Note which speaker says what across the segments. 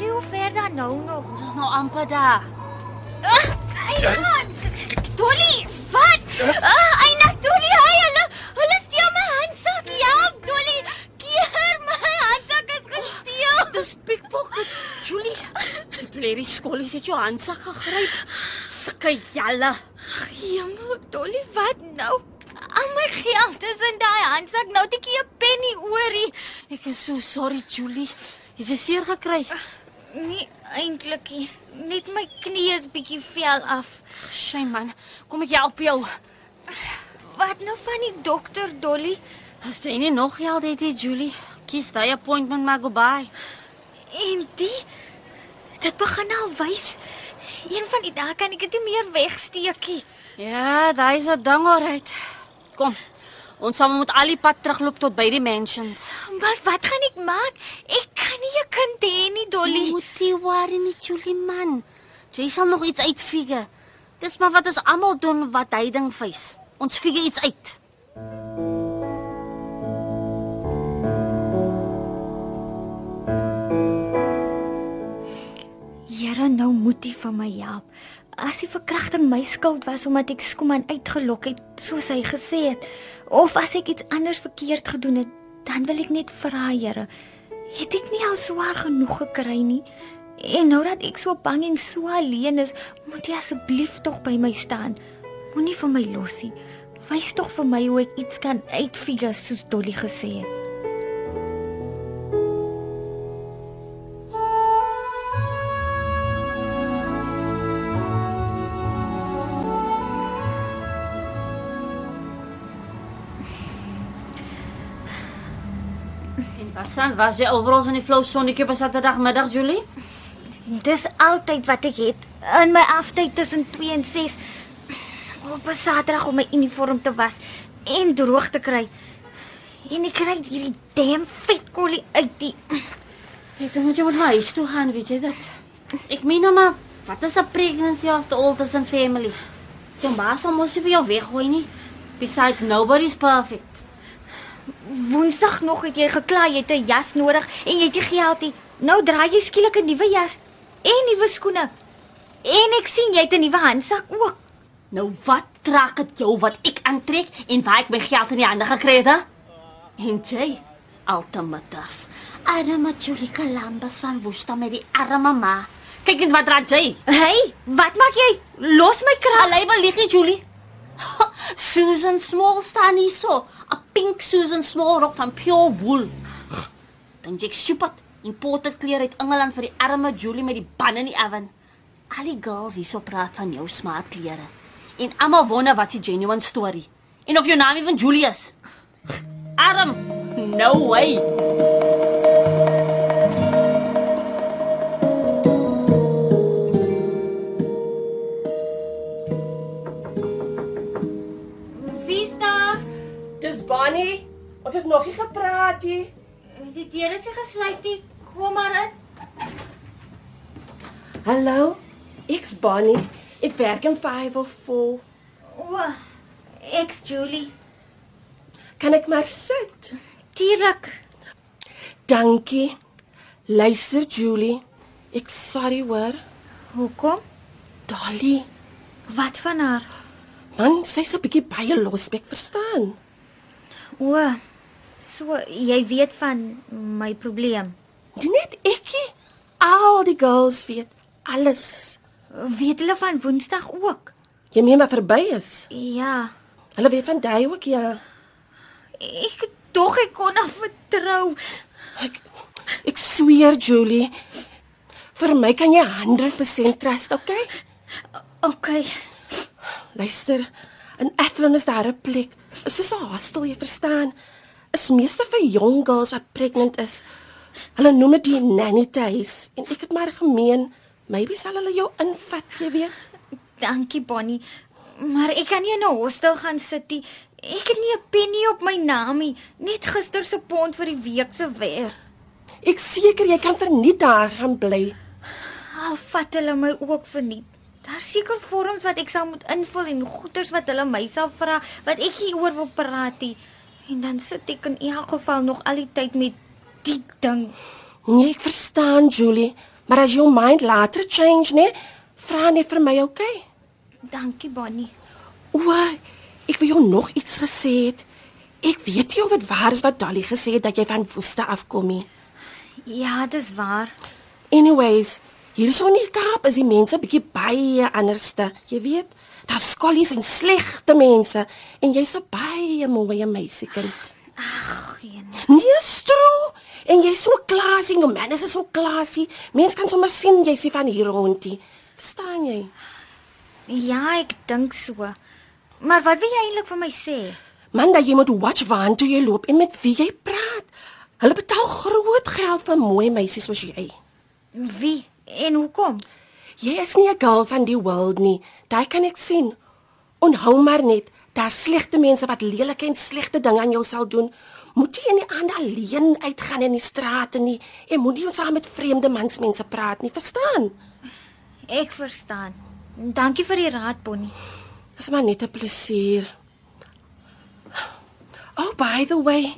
Speaker 1: Jy hoe ver dan nou nog?
Speaker 2: Ons is nou amper daar.
Speaker 1: Ag, Eiland. Dolly, wat? Ag, Eiland, Dolly, hy hulle hulle steel my handsak. Ja, Dolly, keer my handsak is gesteel.
Speaker 2: Oh, Dis pickpockets. Julie, die plerie skollie het jou handsak gegryp. Sulke jalle.
Speaker 1: Ag, jemma, Dolly, wat nou? Al my geld is in daai handsak. Nou het ek nie 'n penny oorie.
Speaker 2: Ek is so sorry, Julie. Jy het seer gekry.
Speaker 1: Nee, eintlik nie. Net my knie is bietjie vel af.
Speaker 2: Shay man, kom ek help jou.
Speaker 1: Wat nou van die dokter, Dolly?
Speaker 2: As jy nie nog geld het, nie, Julie, kies daai appointment maar go by.
Speaker 1: En die dit begin al wys. Een van die dae kan ek dit nie meer wegsteekie.
Speaker 2: Ja, daai is 'n ding alright. Kom. Ons sal moet al die pad terugloop tot by die mansions.
Speaker 1: Maar wat gaan ek maak? Ek kan nie 'n kind hê nie,
Speaker 2: Jy
Speaker 1: Dolly.
Speaker 2: moet nie worry nie, Julie man. Jy sal nog iets uitfigure. Dis maar wat ons almal doen wat hy ding face. Ons figure iets uit.
Speaker 1: Here, nou moet U vir my help. As die verkrachting my skuld was omdat ek Skuman uitgelok het, soos hy gesê het, of as ek iets anders verkeerd gedoen het, dan wil ek net vra, Here, het ek nie al swaar genoeg gekry nie? En nou dat ek so bang en so alleen is, moet U asseblief tog by my staan. Moenie vir my los nie. Wys tog vir my hoe ek iets kan uitfigure soos Dolly gesê het.
Speaker 2: En wat staan was jy oral in die flou sonnetjie op 'n Saterdagmiddag, Julie?
Speaker 1: Dis altyd wat ek het in my aftyd tussen 2 en 6 op 'n Saterdag om my uniform te was en droog te kry. En ek kry hierdie damn vet kollie uit die
Speaker 2: Ek dink jy moet maar huis toe gaan, weet jy dit? Ek meen nou maar, wat is 'n pregnancy after all tussen family? Jou ma sal mos nie vir jou weggooi nie. Besides nobody's perfect.
Speaker 1: Woensdag nog het jy gekla jy het 'n jas nodig en jy het nie geld nie. Nou dra jy skielik 'n nuwe jas en nuwe skoene. En ek sien jy het 'n nuwe handsak ook.
Speaker 2: Nou wat trek dit jou wat ek aantrek en waar ek my geld in die hande gekry het? hè? En jy, ultimaters. Arme Julie Kalambas van Woesta met die arme ma. Kyk net wat dra jy.
Speaker 1: Hey, wat maak jy? Los my kraal.
Speaker 2: Allei belig nie, Julie. Susan Small staan hier so, 'n pink Susan Small rok van pure wool. Dink jy ek stupid? Imported klere uit Engeland vir die arme Julie met die ban in die oven. Al die girls hier so praat van jou smart klere. En almal wonder wat se genuine story. En of jou naam ewen Julie is. Adam, no way.
Speaker 1: Wie's daar?
Speaker 3: Dis Bonnie. Ons het nog nie gepraat nie.
Speaker 1: Die deur is nie gesluit nie. Kom maar in.
Speaker 3: Hallo. Ek's Bonnie. Ek werk in 504.
Speaker 1: O, ek's Julie.
Speaker 3: Kan ek maar sit?
Speaker 1: Tuurlik.
Speaker 3: Dankie. Luister Julie. Ek's sorry hoor.
Speaker 1: Hoekom?
Speaker 3: Dolly.
Speaker 1: Wat van haar?
Speaker 3: Man, sy's 'n bietjie baie losbek, verstaan?
Speaker 1: O, so jy weet van my probleem.
Speaker 3: Dit net ekie. Al die girls weet alles.
Speaker 1: Weet hulle van Woensdag ook?
Speaker 3: Jy meen wat verby is.
Speaker 1: Ja.
Speaker 3: Hulle weet van daai ook ja.
Speaker 1: Ek tog ek kon haar vertrou.
Speaker 3: Ek ek sweer Julie. Vir my kan jy 100% trust, okay?
Speaker 1: OK.
Speaker 3: Luister, in Athlone is daar 'n plek. Dit is 'n hostel, jy verstaan. Is meeste vir jong girls wat pregnant is. Hulle noem dit die nanny tuis en ek het maar gemeen, maybe sal hulle jou invat, jy weet.
Speaker 1: Dankie Bonnie. Maar ek kan nie in 'n hostel gaan sit nie. Ek het nie 'n penny op my naam nie. Net gister se pond vir die week se werk.
Speaker 3: Ek seker jy kan verniet daar gaan bly.
Speaker 1: Al Ah, vat hulle my ook verniet. Daar seker vorms wat ek sal moet invul en goeders wat hulle my sal vra wat ek nie oor wil praat nie. En dan sit ek in elk geval nog al die tyd met die ding.
Speaker 3: Nee, ek verstaan Julie, Maar as jou mind later change, né, vra net vir my, okay?
Speaker 1: Dankie Bonnie.
Speaker 3: O, ek wil jou nog iets gesê het. Ek weet nie of dit waar is wat Dolly gesê het dat jy van Woeste afkom nie.
Speaker 1: Ja, dis waar.
Speaker 3: Anyways, hierso in die Kaap is die mense bietjie baie anderste. Jy weet, daar's skollies en slegte mense en jy's 'n baie mooi meisiekind.
Speaker 1: Ag, nee.
Speaker 3: Nee, stro. En jy's so klasie, jou manners is so klasie. Mense kan sommer sien jy's nie van hier rondie. Verstaan jy?
Speaker 1: Ja, ek dink so. Maar wat wil jy eintlik van my sê?
Speaker 3: Man, dat jy moet watch waantoe jy loop en met wie jy praat. Hulle betaal groot geld vir mooi meisies soos jy.
Speaker 1: Wie en hoekom?
Speaker 3: Jy is nie 'n girl van die wêreld nie. Daai kan ek sien. Onthou maar net, daar's slegte mense wat lelike en slegte dinge aan jou sal doen. Moet jy in die aand alleen uitgaan in die strate nie en moenie saam met vreemde mansmense praat nie, verstaan?
Speaker 1: Ek verstaan. Dankie vir die raad, Bonnie.
Speaker 3: Dis maar net 'n plesier. Oh, by the way,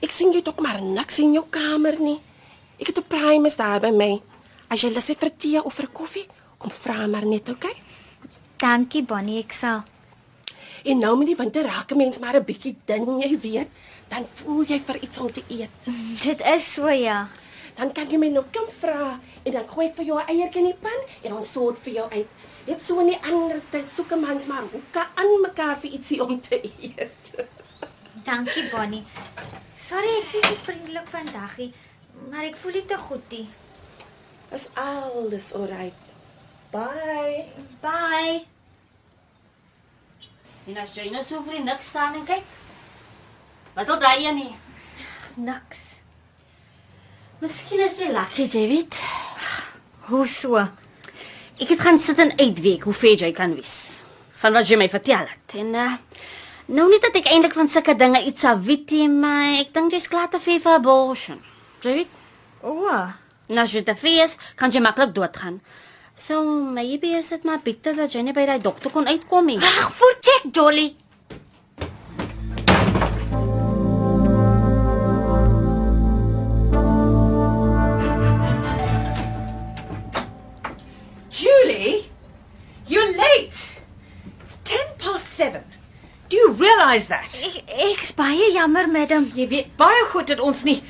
Speaker 3: ek sien jy dok maar niks in jou kamer nie. Ek het 'n primus daar by my. As jy lus het vir tee of vir koffie, kom vra maar net, okay?
Speaker 1: Dankie Bonnie, ek sal.
Speaker 3: En nou met die winter raak 'n mens maar 'n bietjie dun, jy weet, dan voel jy vir iets om te eet.
Speaker 1: Dit is so ja.
Speaker 3: Dan kan jy my nou kom vra en dan gooi ek vir jou 'n eiertjie in die pan en ons sort vir jou uit. Net so in die ander tyd soek 'n mens maar hoeke aan mekaar vir ietsie om te eet.
Speaker 1: Dankie Bonnie. Sorry ek is so vriendelik vandag, nie, maar ek voel dit te goed. nie.
Speaker 3: Is alles oukei. Bye.
Speaker 1: Bye.
Speaker 2: En as jy nou so vir die niks staan en kyk. Wat tot daai een nie.
Speaker 1: Niks.
Speaker 2: Miskien is jy lucky, jy weet.
Speaker 1: Hoe so?
Speaker 2: Ek het gaan sit en uitweek hoe ver jy kan wees van wat jy my vertel het. En uh, nou nie dat ek eintlik van sulke dinge iets sal weet nie, maar ek dink jy's klaar te ver vir abortion. Jy weet,
Speaker 1: O,
Speaker 2: en as jy te ver is, kan jy maklik doodgaan. So, maybe is dit maar beter dat jy nie by daai dokter kon uitkom nie.
Speaker 1: ag, voortjek Dolly.
Speaker 4: Julie, you're late. It's ten past seven. Do you realise that?
Speaker 1: Ek ek's baie jammer, madam.
Speaker 4: Jy weet baie goed dat ons nie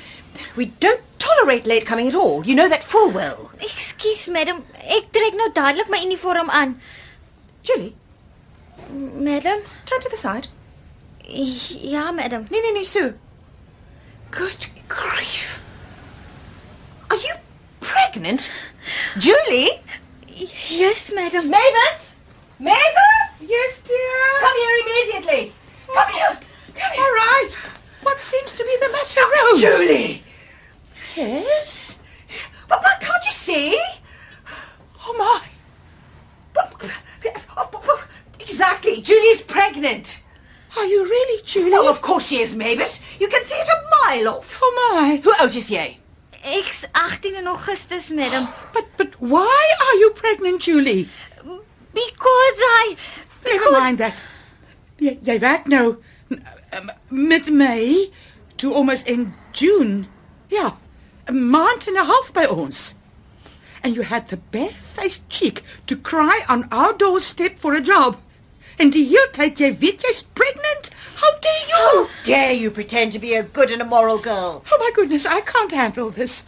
Speaker 4: we don't tolerate late coming at all. You know that full well.
Speaker 1: Ekskuus, madam. Ek trek nou dadelik my uniform aan.
Speaker 4: Julie,
Speaker 1: Madam?
Speaker 4: turn to the side.
Speaker 1: Ja, madam.
Speaker 4: Nee, nee, nee, Sue. Good grief. Are you pregnant? Julie?
Speaker 1: Yes, madam.
Speaker 4: Mavis? Mavis? Yes, dear. Come here immediately. Come here. Come here. All right. What seems to be the matter, Rose? Julie. Yes. But what can't you see? Oh my. But, oh, but- but- exactly. Julie's pregnant. Are you really, Julie? Oh, of course she is, Mavis. You can see it a mile off. Oh my. Who Otis ye?
Speaker 1: Ek's 18 in Augustus, madam.
Speaker 4: But but why are you pregnant, Julie?
Speaker 1: Because I
Speaker 5: Never mind that. Jy, jy werk nou um, met Mei toe almost in June. Ja, 'n maand en 'n half by ons. And you had the barefaced cheek to cry on our doorstep for a job. En die hele tyd jy weet jy's pregnant. How dare you?
Speaker 4: Dare you pretend to be a good and a moral girl?
Speaker 5: Oh my goodness, I can't handle this.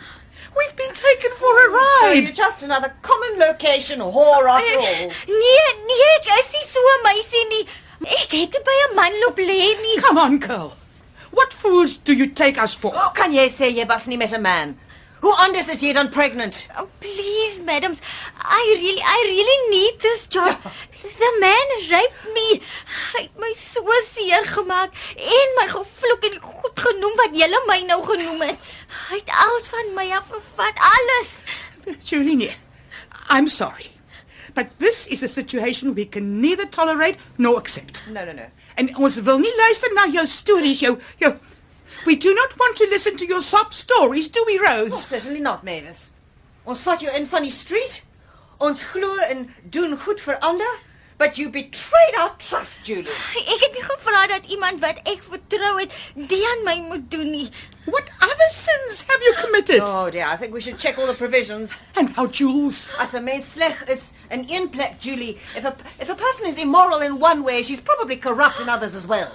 Speaker 5: We've been taken for a
Speaker 4: So you're
Speaker 5: ride.
Speaker 4: just another common location whore after all.
Speaker 1: Nee, nee, ek is nie so 'n meisie nie. Ek het nie by 'n man loop lê nie.
Speaker 5: Come on, girl. What fools do you take us for?
Speaker 2: Oh,
Speaker 4: How can ye say ye busn't met a man? Who anders is ye done pregnant?
Speaker 1: Oh, please, madams. I really I really need this job. The man raped me. Hy het my so seer gemaak en my gevloek en goed genoem wat julle my nou genoem het. Hy het alles van my af gevat, alles.
Speaker 5: Julinia, I'm sorry, but this is a situation we can neither tolerate nor accept.
Speaker 4: No, no, no.
Speaker 5: And ons wil nie luister na jou stories, jou jou We do not want to listen to your sob stories, do we,
Speaker 4: Well,
Speaker 5: Rose?
Speaker 4: certainly not, Mavis. Ons vat jou in van die street. Ons glo in doen goed vir ander, but you betrayed our trust, Julie.
Speaker 1: Ek het nie gevra dat iemand wat ek vertrou het, dit aan my moet doen nie.
Speaker 5: What other sins have you it?
Speaker 6: Oh dear, I think we should check all the provisions.
Speaker 5: And our jewels.
Speaker 6: As a mens slech is an inplek, Julie. If a, if a person is immoral in one way, she's probably corrupt in others as well.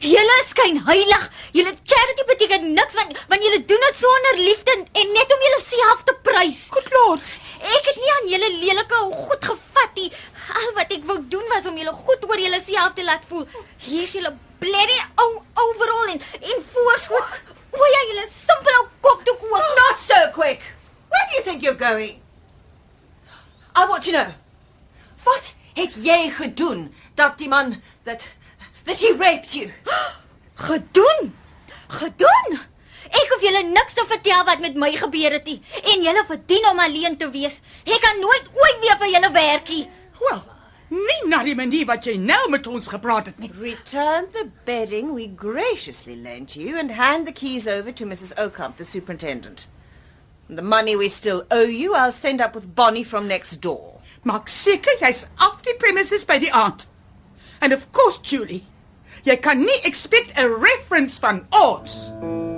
Speaker 1: Julle skyn heilig. Julle charity beteken niks want want julle doen dit sonder liefde en- en net om julleself te prys.
Speaker 5: Good Lord.
Speaker 1: Ek het nie aan julle lelike ou goed gevat nie. Al wat ek wou doen was om julle goed oor julleself te laat voel. Hier's julle blerrie ou overall en en voorskoot. O ja, julle simpel ou kopdoek ook.
Speaker 6: Not so quick! Where do you think you're going? I want to know. What het jy gedoen dat die man that that he raped you?
Speaker 1: Gedoen. Gedoen. Ek hoef julle niks te vertel wat met my gebeur het nie en julle verdien om alleen te wees. Ek kan nooit ooit weer vir julle werk nie.
Speaker 5: Wel, nie na die manier wat jy nou met ons gepraat het nie.
Speaker 6: Return the bedding we graciously lent you and hand the keys over to Mrs. Oakamp, the superintendent. The money we still owe you, I'll send up with Bonnie from next door.
Speaker 5: Maak seker jy's af die premises by die aand. And of course, Julie, jy kan nie expect 'n reference van ons.